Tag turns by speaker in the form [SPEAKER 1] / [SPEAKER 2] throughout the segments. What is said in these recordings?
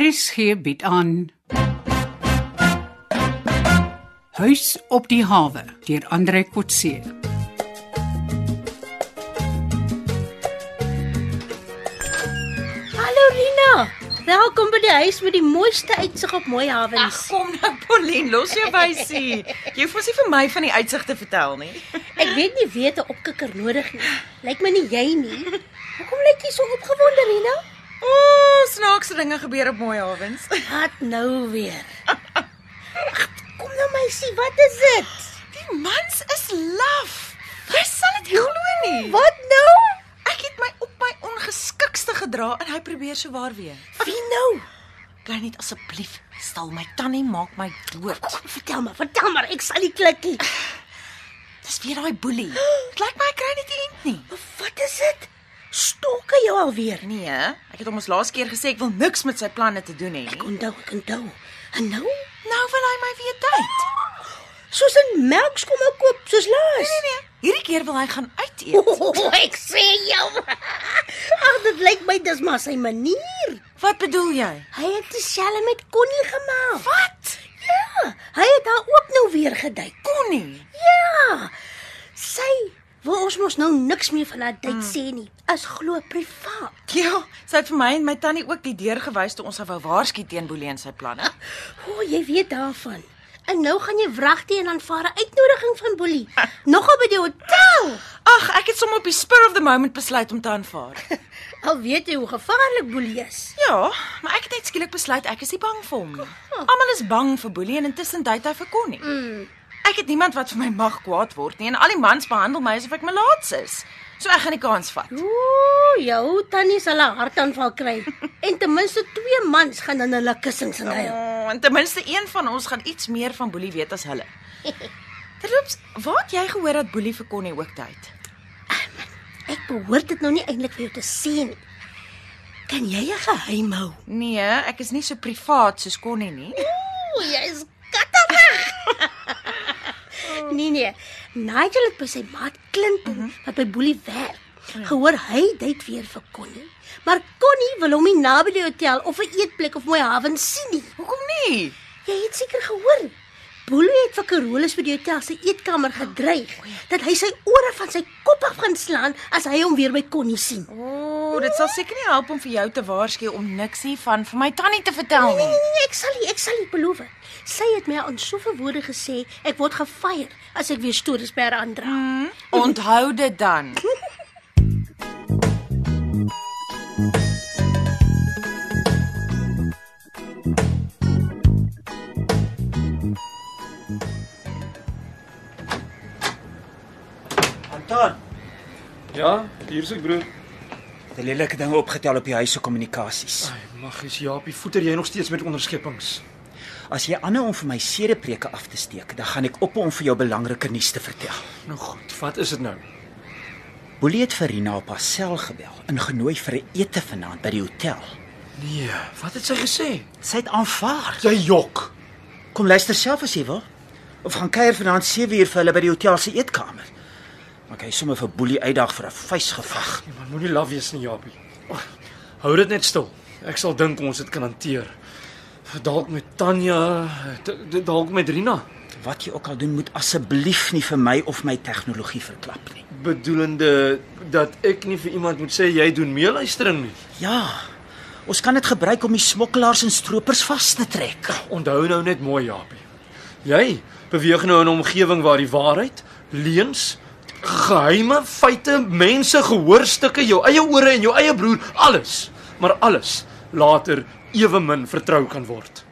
[SPEAKER 1] RSG bied aan Huis op die hawe deur Andre Kotse.
[SPEAKER 2] Hallo Lina. Welkom by die huis met die mooiste uitsig op mooi
[SPEAKER 3] Ag
[SPEAKER 2] hawens.
[SPEAKER 3] kom nou Pauline, los jou wysie. Jy hoef mos nie vir my van die uitsig te vertel nie.
[SPEAKER 2] Ek weet nie weet 'n opkikker nodig nie. Lyk my nie jy nie. Hoekom lyk jy so opgewonde Lina?
[SPEAKER 3] Ooh, snaakse dinge gebeur op mooi hawens.
[SPEAKER 2] Wat nou weer? Ag, Kom nou meisie, wat is dit?
[SPEAKER 3] Die mans is laf. Jy sal dit glo nie.
[SPEAKER 2] Wat nou?
[SPEAKER 3] Ek het my op my ongeskikste gedra en hy probeer so waar weer.
[SPEAKER 2] Wie nou?
[SPEAKER 3] Kan net asseblief stil my tannie maak my dood.
[SPEAKER 2] Kom vertel maar, vertel maar, ek sal die klikkie.
[SPEAKER 3] Dis weer daai boelie. Dit lyk my hy kry nie die end nie.
[SPEAKER 2] Wat is dit? Stok hy jou alweer?
[SPEAKER 3] Nee, hè? ek het hom ons laas keer gesê ek wil niks met sy planne te doen hê
[SPEAKER 2] Ek
[SPEAKER 3] nie.
[SPEAKER 2] onthou, ek onthou. En nou?
[SPEAKER 3] Nou wil hy my weer tyd.
[SPEAKER 2] Soos 'n melkskom ou koop, soos laas.
[SPEAKER 3] Nee nee, hierdie keer wil hy gaan uit eet.
[SPEAKER 2] O, ek sê jou. Ag, dit lyk my dis maar sy manier.
[SPEAKER 3] Wat bedoel jy?
[SPEAKER 2] Hy het dieselfde met Connie gemaak.
[SPEAKER 3] Wat?
[SPEAKER 2] Ja, hy het haar ook nou weer gedate.
[SPEAKER 3] Connie.
[SPEAKER 2] Ja. Sy wil ons mos nou niks meer van haar date sê nie. As glo privaat.
[SPEAKER 3] Ja, sy het vir my en my tannie ook die deur gewys toe ons haar wou waarsku teen Boelie en sy planne.
[SPEAKER 2] O, jy weet daarvan. En nou gaan jy wragtie en aanvaar 'n uitnodiging van Boelie. Nogal by die hotel.
[SPEAKER 3] Ag, ek het sommer op die spur of the moment besluit om te aanvaar.
[SPEAKER 2] Al weet jy hoe gevaarlik Boelie is.
[SPEAKER 3] Ja, maar ek het net skielik besluit ek is nie bang vir hom nie. Almal is bang vir Boelie en intussen dui hy vir Connie.
[SPEAKER 2] Mm.
[SPEAKER 3] Ek het niemand wat vir my mag kwaad word nie en al die mans behandel my asof ek malaats is. So ek gaan die kans vat.
[SPEAKER 2] Ooh, jou tannie sal 'n hartaanval kry. En ten minste twee mans gaan dan hulle kussings in huil.
[SPEAKER 3] Oh, en ten minste een van ons gaan iets meer van Boelie weet as hulle. Terloops, waar het jy gehoor dat Boelie vir Connie ook tyd?
[SPEAKER 2] Ek behoort dit nou nie eintlik vir jou te sê nie. Kan jy 'n geheim hou?
[SPEAKER 3] Nee, ek is nie so privaat soos Connie nie.
[SPEAKER 2] Ooh, jy's kattig. nee nee. Nigel het by sy maat Clinton wat by Boelie werk. Gehoor hy date weer vir Connie. Maar Connie wil hom nie naby die hotel of 'n eetplek of mooi hawens sien nie.
[SPEAKER 3] Hoekom nie?
[SPEAKER 2] Jy het seker gehoor. Boelie het vir Carolus by die hotel se eetkamer gedreig dat hy sy ore van sy kop af gaan slaan as hy hom weer by Connie sien.
[SPEAKER 3] O, oh, dit sal seker nie help om vir jou te waarsku om niks hiervan vir my tannie te vertel
[SPEAKER 2] Nee
[SPEAKER 3] nie.
[SPEAKER 2] nee nee, ek sal nie, ek sal nie beloof. Sy het my aan soveel woorde gesê, ek word gefyer as ek weer stories by haar aandra.
[SPEAKER 3] Hm? Onthou dit dan.
[SPEAKER 4] Anton,
[SPEAKER 5] Ja, hier's ek broer.
[SPEAKER 4] het jy lelike dinge opgetel op die huis se kommunikasies?
[SPEAKER 5] Ai, maggies Jaapie, voeter jy nog steeds met onderskeppings.
[SPEAKER 4] As jy aanhou om vir my sedepreke af te steek, dan gaan ek op om vir jou belangrike nuus te vertel.
[SPEAKER 5] Nou goed, wat is dit nou?
[SPEAKER 4] Boelie het vir Rina op haar sel gebel en genooi vir 'n ete vanaand by die hotel.
[SPEAKER 5] Nee, wat het sy gesê?
[SPEAKER 4] Sy het aanvaar.
[SPEAKER 5] Jy jok.
[SPEAKER 4] Kom luister self as jy wil. Of gaan kuier vanaand 7uur vir hulle by die hotel se eetkamer. Maar jy sommer vir Boelie uitdag vir 'n vuisgeveg.
[SPEAKER 5] Nee man, moenie laf wees nie Jaapie. Ag, Oh, Hou dit net stil. Ek sal dink ons dit kan hanteer. Dalk met Tanya, d- d- dalk met Rina.
[SPEAKER 4] Wat jy ook al doen, moet asseblief nie vir my of my tegnologie verklap nie.
[SPEAKER 5] Bedoelende dat ek nie vir iemand moet sê jy doen meeluistering nie.
[SPEAKER 4] Ja. Ons kan dit gebruik om die smokkelaars en stroopers vas te trek.
[SPEAKER 5] Onthou nou net mooi Jaapie. Jy beweeg nou in 'n omgewing waar die waarheid, leuns, geheime, feite, mense, gehoorstukke, jou eie ore en jou eie broer, alles, maar alles later ewe min vertrou kan word.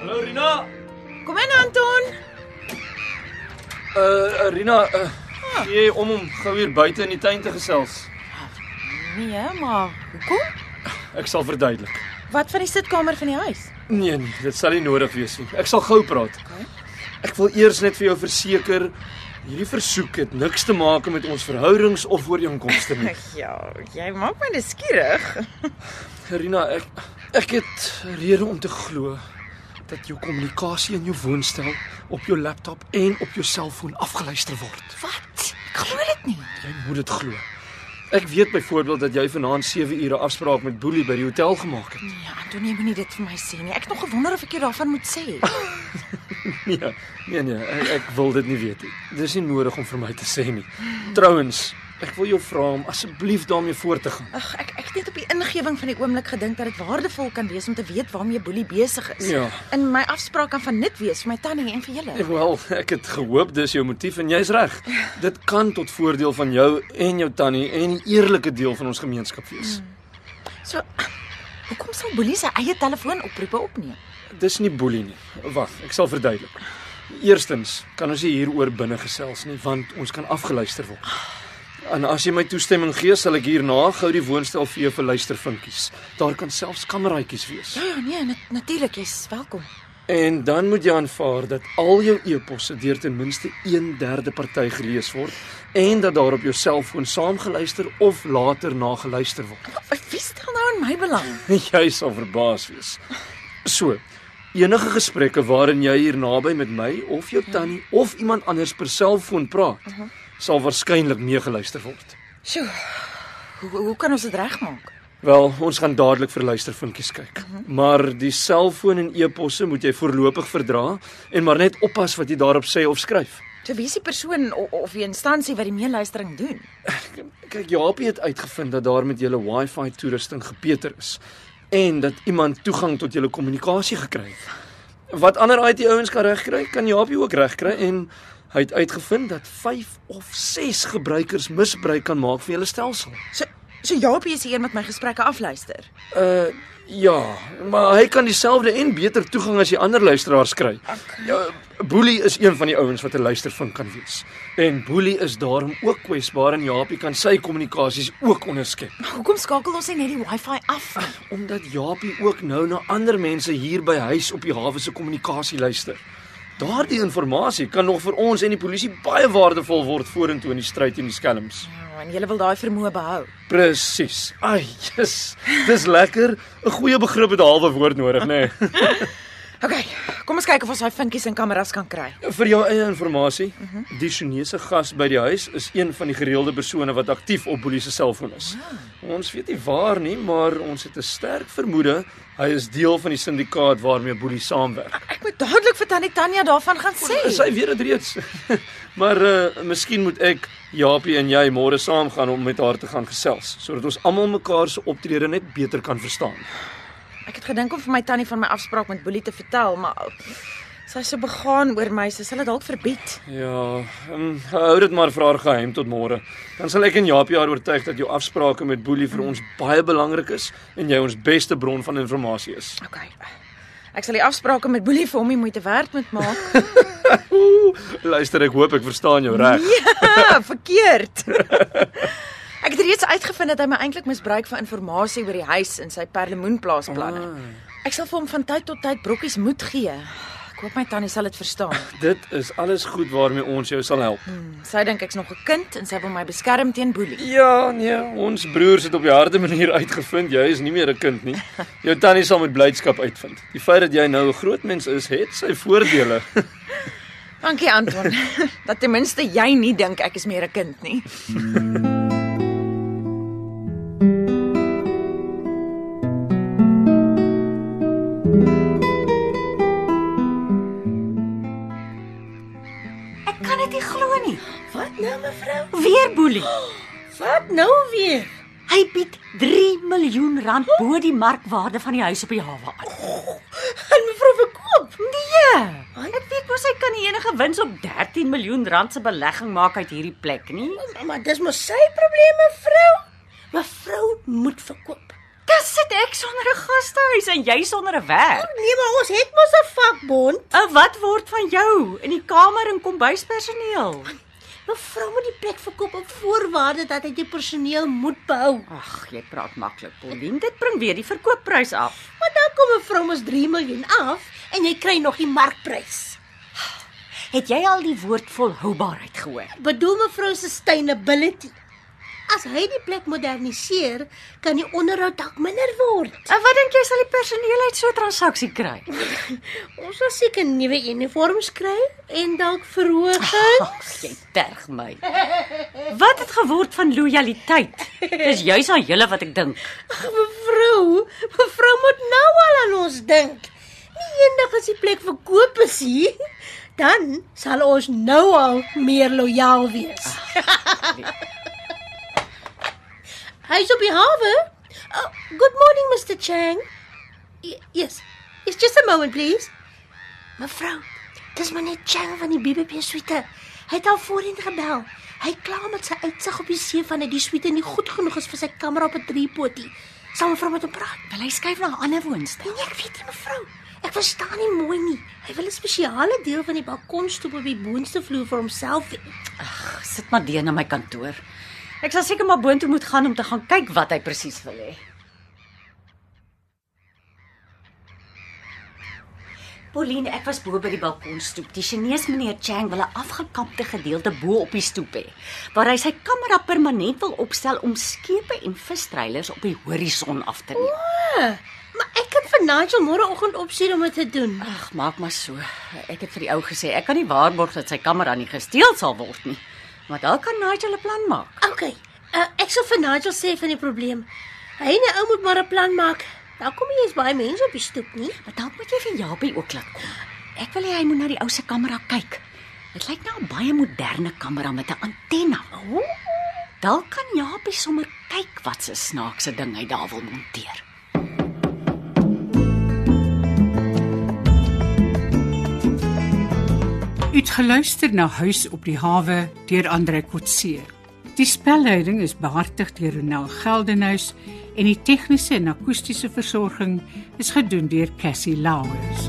[SPEAKER 5] Hallo Rina.
[SPEAKER 3] Kom in Anton.
[SPEAKER 5] Uh Rina, uh, jy om hom gou hier buite in die tuin te gesels.
[SPEAKER 3] Nee, maar hoekom?
[SPEAKER 5] Ek sal verduidelik.
[SPEAKER 3] Wat van die sitkamer van die huis?
[SPEAKER 5] Nee nee, dit sal nie nodig wees nie. Ek sal gou praat. Ek wil eers net vir jou verseker hierdie versoek het niks te maak met ons verhoudings of ooreenkomste nie.
[SPEAKER 3] Ja, jy maak my nuuskierig.
[SPEAKER 5] Rina, ek ek het rede om te glo dat jou kommunikasie in jou woonstel, op jou laptop en op jou selfoon afgeluister word.
[SPEAKER 3] Wat? Ek glo dit nie.
[SPEAKER 5] Jy moet dit glo. Ek weet byvoorbeeld dat jy vanaand 7 ure afspraak met Boelie by die hotel gemaak het.
[SPEAKER 3] Nee, Antonie, jy moenie dit vir my sê nie. Ek het nog gewonder of ek jou daarvan moet sê.
[SPEAKER 5] Nee, nee nee, ek, ek wil dit nie weet nie. Dis nie nodig om vir my te sê nie. Trouwens, ek wil jou vra om asseblief daarmee voort te gaan.
[SPEAKER 3] Ag, ek ek het net op die ingewing van die oomblik gedink dat dit waardevol kan wees om te weet waarmee Boelie besig is.
[SPEAKER 5] Ja.
[SPEAKER 3] En my afspraak kan van nut wees vir my tannie en vir julle.
[SPEAKER 5] Eh, Wel, ek het gehoop dis jou motief en jy's reg. Dit kan tot voordeel van jou en jou tannie en die eerlike deel van ons gemeenskap wees.
[SPEAKER 3] So hoekom sal Boelie sy eie telefoonoproepe opneem?
[SPEAKER 5] Dis nie boelie nie. Wag, ek sal verduidelik. Eerstens, kan ons nie hieroor binne gesels nie want ons kan afgeluister word. En as jy my toestemming gee, sal ek hierna gou die woonstel vir jou verluister vinkies. Daar kan selfs kameraitjies wees.
[SPEAKER 3] Ja ja, nee, nat natuurlik, jy's welkom.
[SPEAKER 5] En dan moet jy aanvaar dat al jou e-posse deur ten minste 1/3 party gelees word en dat daar op jou selfoon saamgeluister of later nageluister word.
[SPEAKER 3] Wie stel nou in my belang?
[SPEAKER 5] Jy sal verbaas wees. So, enige gesprekke waarin jy hier naby met my of jou tannie of iemand anders per selfoon praat, sal waarskynlik meegeluister word.
[SPEAKER 3] Sjoe. Hoe hoe kan ons dit regmaak?
[SPEAKER 5] Wel, ons gaan dadelik vir luistervinkies kyk. Maar die selfoon en e-posse moet jy voorlopig verdra en maar net oppas wat jy daarop sê of skryf.
[SPEAKER 3] So wie is die persoon of, of die instansie wat die meeluistering doen?
[SPEAKER 5] Kyk, Japie het uitgevind dat daar met julle Wi-Fi toerusting gepeter is en dat iemand toegang tot julle kommunikasie gekry het. Wat ander IT ouens kan regkry, kan Japie ook regkry en hy het uitgevind dat 5 of 6 gebruikers misbruik kan maak van julle stelsel.
[SPEAKER 3] So so Jaapie is hier met my gesprekke afluister.
[SPEAKER 5] Uh ja, maar hy kan dieselfde en beter toegang as die ander luisteraars kry. Ja, Boelie is een van die ouens wat 'n luistervink kan wees. En Boelie is daarom ook kwesbaar en Japie kan sy kommunikasies ook onderskep.
[SPEAKER 3] Maar hoekom skakel ons nie net die Wi-Fi af nie?
[SPEAKER 5] Omdat Japie ook nou na ander mense hier by huis op die hawe se kommunikasie luister. Daardie inligting kan nog vir ons en die polisie baie waardevol word vorentoe in die stryd teen die skelms.
[SPEAKER 3] Ja, en jy wil daai vermoë behou.
[SPEAKER 5] Presies. Ai, jis. Dis lekker. 'n Goeie begrip het 'n halwe woord nodig, nê? Nee.
[SPEAKER 3] OK, kom ons kyk of ons daai vinkies en kameras kan kry.
[SPEAKER 5] Vir jou eie inligting, die Chinese gas by die huis is een van die gereelde persone wat aktief op Boelie se selfoon is. Ons weet nie waar nie, maar ons het 'n sterk vermoede hy is deel van die sindikaat waarmee Boelie saamwerk.
[SPEAKER 3] Ek moet dadelik vir tannie Tanya daarvan gaan sê.
[SPEAKER 5] Sy weet dit reeds. maar eh uh, miskien moet ek Japie en jy môre saam gaan om met haar te gaan gesels sodat ons almal mekaar se optrede net beter kan verstaan.
[SPEAKER 3] Ek het gedink om vir my tannie van my afspraak met Boelie te vertel, maar sy is so begaan oor my, sy sal dit dalk verbied.
[SPEAKER 5] Ja, um, hou dit maar vir haar geheim tot môre. Dan sal ek en Japie haar oortuig dat jou afsprake met Boelie vir ons baie belangrik is en jy ons beste bron van inligting is.
[SPEAKER 3] OK. Ek sal die afsprake met Boelie vir hom die moeite werd moet maak.
[SPEAKER 5] Ooh, luister, ek hoop ek verstaan jou reg.
[SPEAKER 3] ja, verkeerd. Ek het reeds uitgevind dat hy my eintlik misbruik vir inligting oor die huis en sy perlemoenplaasplanne. Ek sal vir hom van tyd tot tyd brokkies moed gee. Ek hoop my tannie sal dit verstaan.
[SPEAKER 5] Dit is alles goed waarmee ons jou sal help.
[SPEAKER 3] Sy dink ek's nog 'n kind en sy wil my beskerm teen boelie.
[SPEAKER 5] Ja, nee, ons broers het op die harde manier uitgevind jy is nie meer 'n kind nie. Jou tannie sal met blydskap uitvind. Die feit dat jy nou 'n groot mens is, het sy voordele.
[SPEAKER 3] Dankie Anton. dat ten minste jy nie dink ek is meer 'n kind nie.
[SPEAKER 6] Ek kan dit nie glo nie.
[SPEAKER 2] Wat nou mevrou?
[SPEAKER 6] Weer boelie.
[SPEAKER 2] Wat nou weer?
[SPEAKER 6] Hy bied 3 miljoen rand bo die markwaarde van die huis op die hawe aan.
[SPEAKER 2] Gaan mevrou verkoop?
[SPEAKER 6] Nee. Ek weet mos hy kan nie enige wins op 13 miljoen rand se belegging maak uit hierdie plek nie.
[SPEAKER 2] Nou, Maar dis mos sy probleem mevrou. Mevrou moet verkoop.
[SPEAKER 6] Dis sit ek sonder 'n gastehuis en jy sonder 'n werk.
[SPEAKER 2] Nee, maar ons het mos 'n vakbond.
[SPEAKER 6] En wat word van jou in die kamer en kombuispersoneel?
[SPEAKER 2] Mevrou moet die plek verkoop op voorwaarde dat hy die personeel moet behou.
[SPEAKER 6] Ag, jy praat maklik, Pauline. Dit bring weer die verkoopprys af.
[SPEAKER 2] Maar dan kom mevrou mos 3 miljoen af en jy kry nog die markprys.
[SPEAKER 6] Het jy al die woord volhoubaarheid gehoor?
[SPEAKER 2] Bedoel mevrou se sustainability. As hy die plek moderniseer, kan die onderhoud dalk minder word.
[SPEAKER 3] En wat dink jy sal die personeel uit so 'n transaksie kry?
[SPEAKER 2] Ons sal seker nuwe uniforms kry en dalk verhoging.
[SPEAKER 3] Jy terg my. Wat het geword van lojaliteit? Dis juis aan julle wat ek dink.
[SPEAKER 2] Ag, mevrou, mevrou moet nou al aan ons dink. Nie eendag as die plek verkoop is hier, dan sal ons nou al meer lojaal wees. Hy's op die hawe. Oh, good morning, Mr. Chang. Y yes. It's just a moment, please. Mevrou, dis meneer Chang van die BBP suite. Hy het al voorheen gebel. Hy kla met sy uitsig op die see van dat die suite nie goed genoeg is vir sy kamera op 'n driepotie. Sal mevrou met hom praat?
[SPEAKER 3] Wil hy skuif na 'n ander woonstel?
[SPEAKER 2] Nee, ek weet nie mevrou. Ek verstaan nie mooi nie. Hy wil 'n spesiale deel van die balkonstoep op die boonste vloer vir homself hê.
[SPEAKER 3] Sit maar deur na my kantoor. Ek sal seker maar boontoe moet gaan om te gaan kyk wat hy presies wil hê. Pauline, ek was bo by die balkonstoep. Die Chinese meneer Chang wil 'n afgekapte gedeelte bo op die stoep hê, waar hy sy kamera permanent wil opstel om skepe en vistreilers op die horison af te neem.
[SPEAKER 2] Maar ek kan vir Nigel môreoggend opsien om dit te doen.
[SPEAKER 3] Ag, maak maar so. Ek het vir die ou gesê ek kan nie waarborg dat sy kamera nie gesteel sal word nie. Maar dalk kan Nigel 'n plan maak.
[SPEAKER 2] Okay. Uh, ek sal vir Nigel sê van die probleem. Hy en 'n ou moet maar 'n plan maak. Daar kom nie eens baie mense op die stoep nie.
[SPEAKER 3] Maar dalk moet jy vir Japie ook laat kom. Ek wil hê hy moet na die ou se kamera kyk. Dit lyk na 'n baie moderne kamera met 'n antenna. Oh. Dalk kan Japie sommer kyk wat se snaakse ding hy daar wil monteer.
[SPEAKER 1] U het geluister na Huis op die hawe deur Andre Kotse. Die spelleiding is behartig deur Ronel Geldenhuys en die tegniese en akoestiese versorging is gedoen deur Cassie Lauers.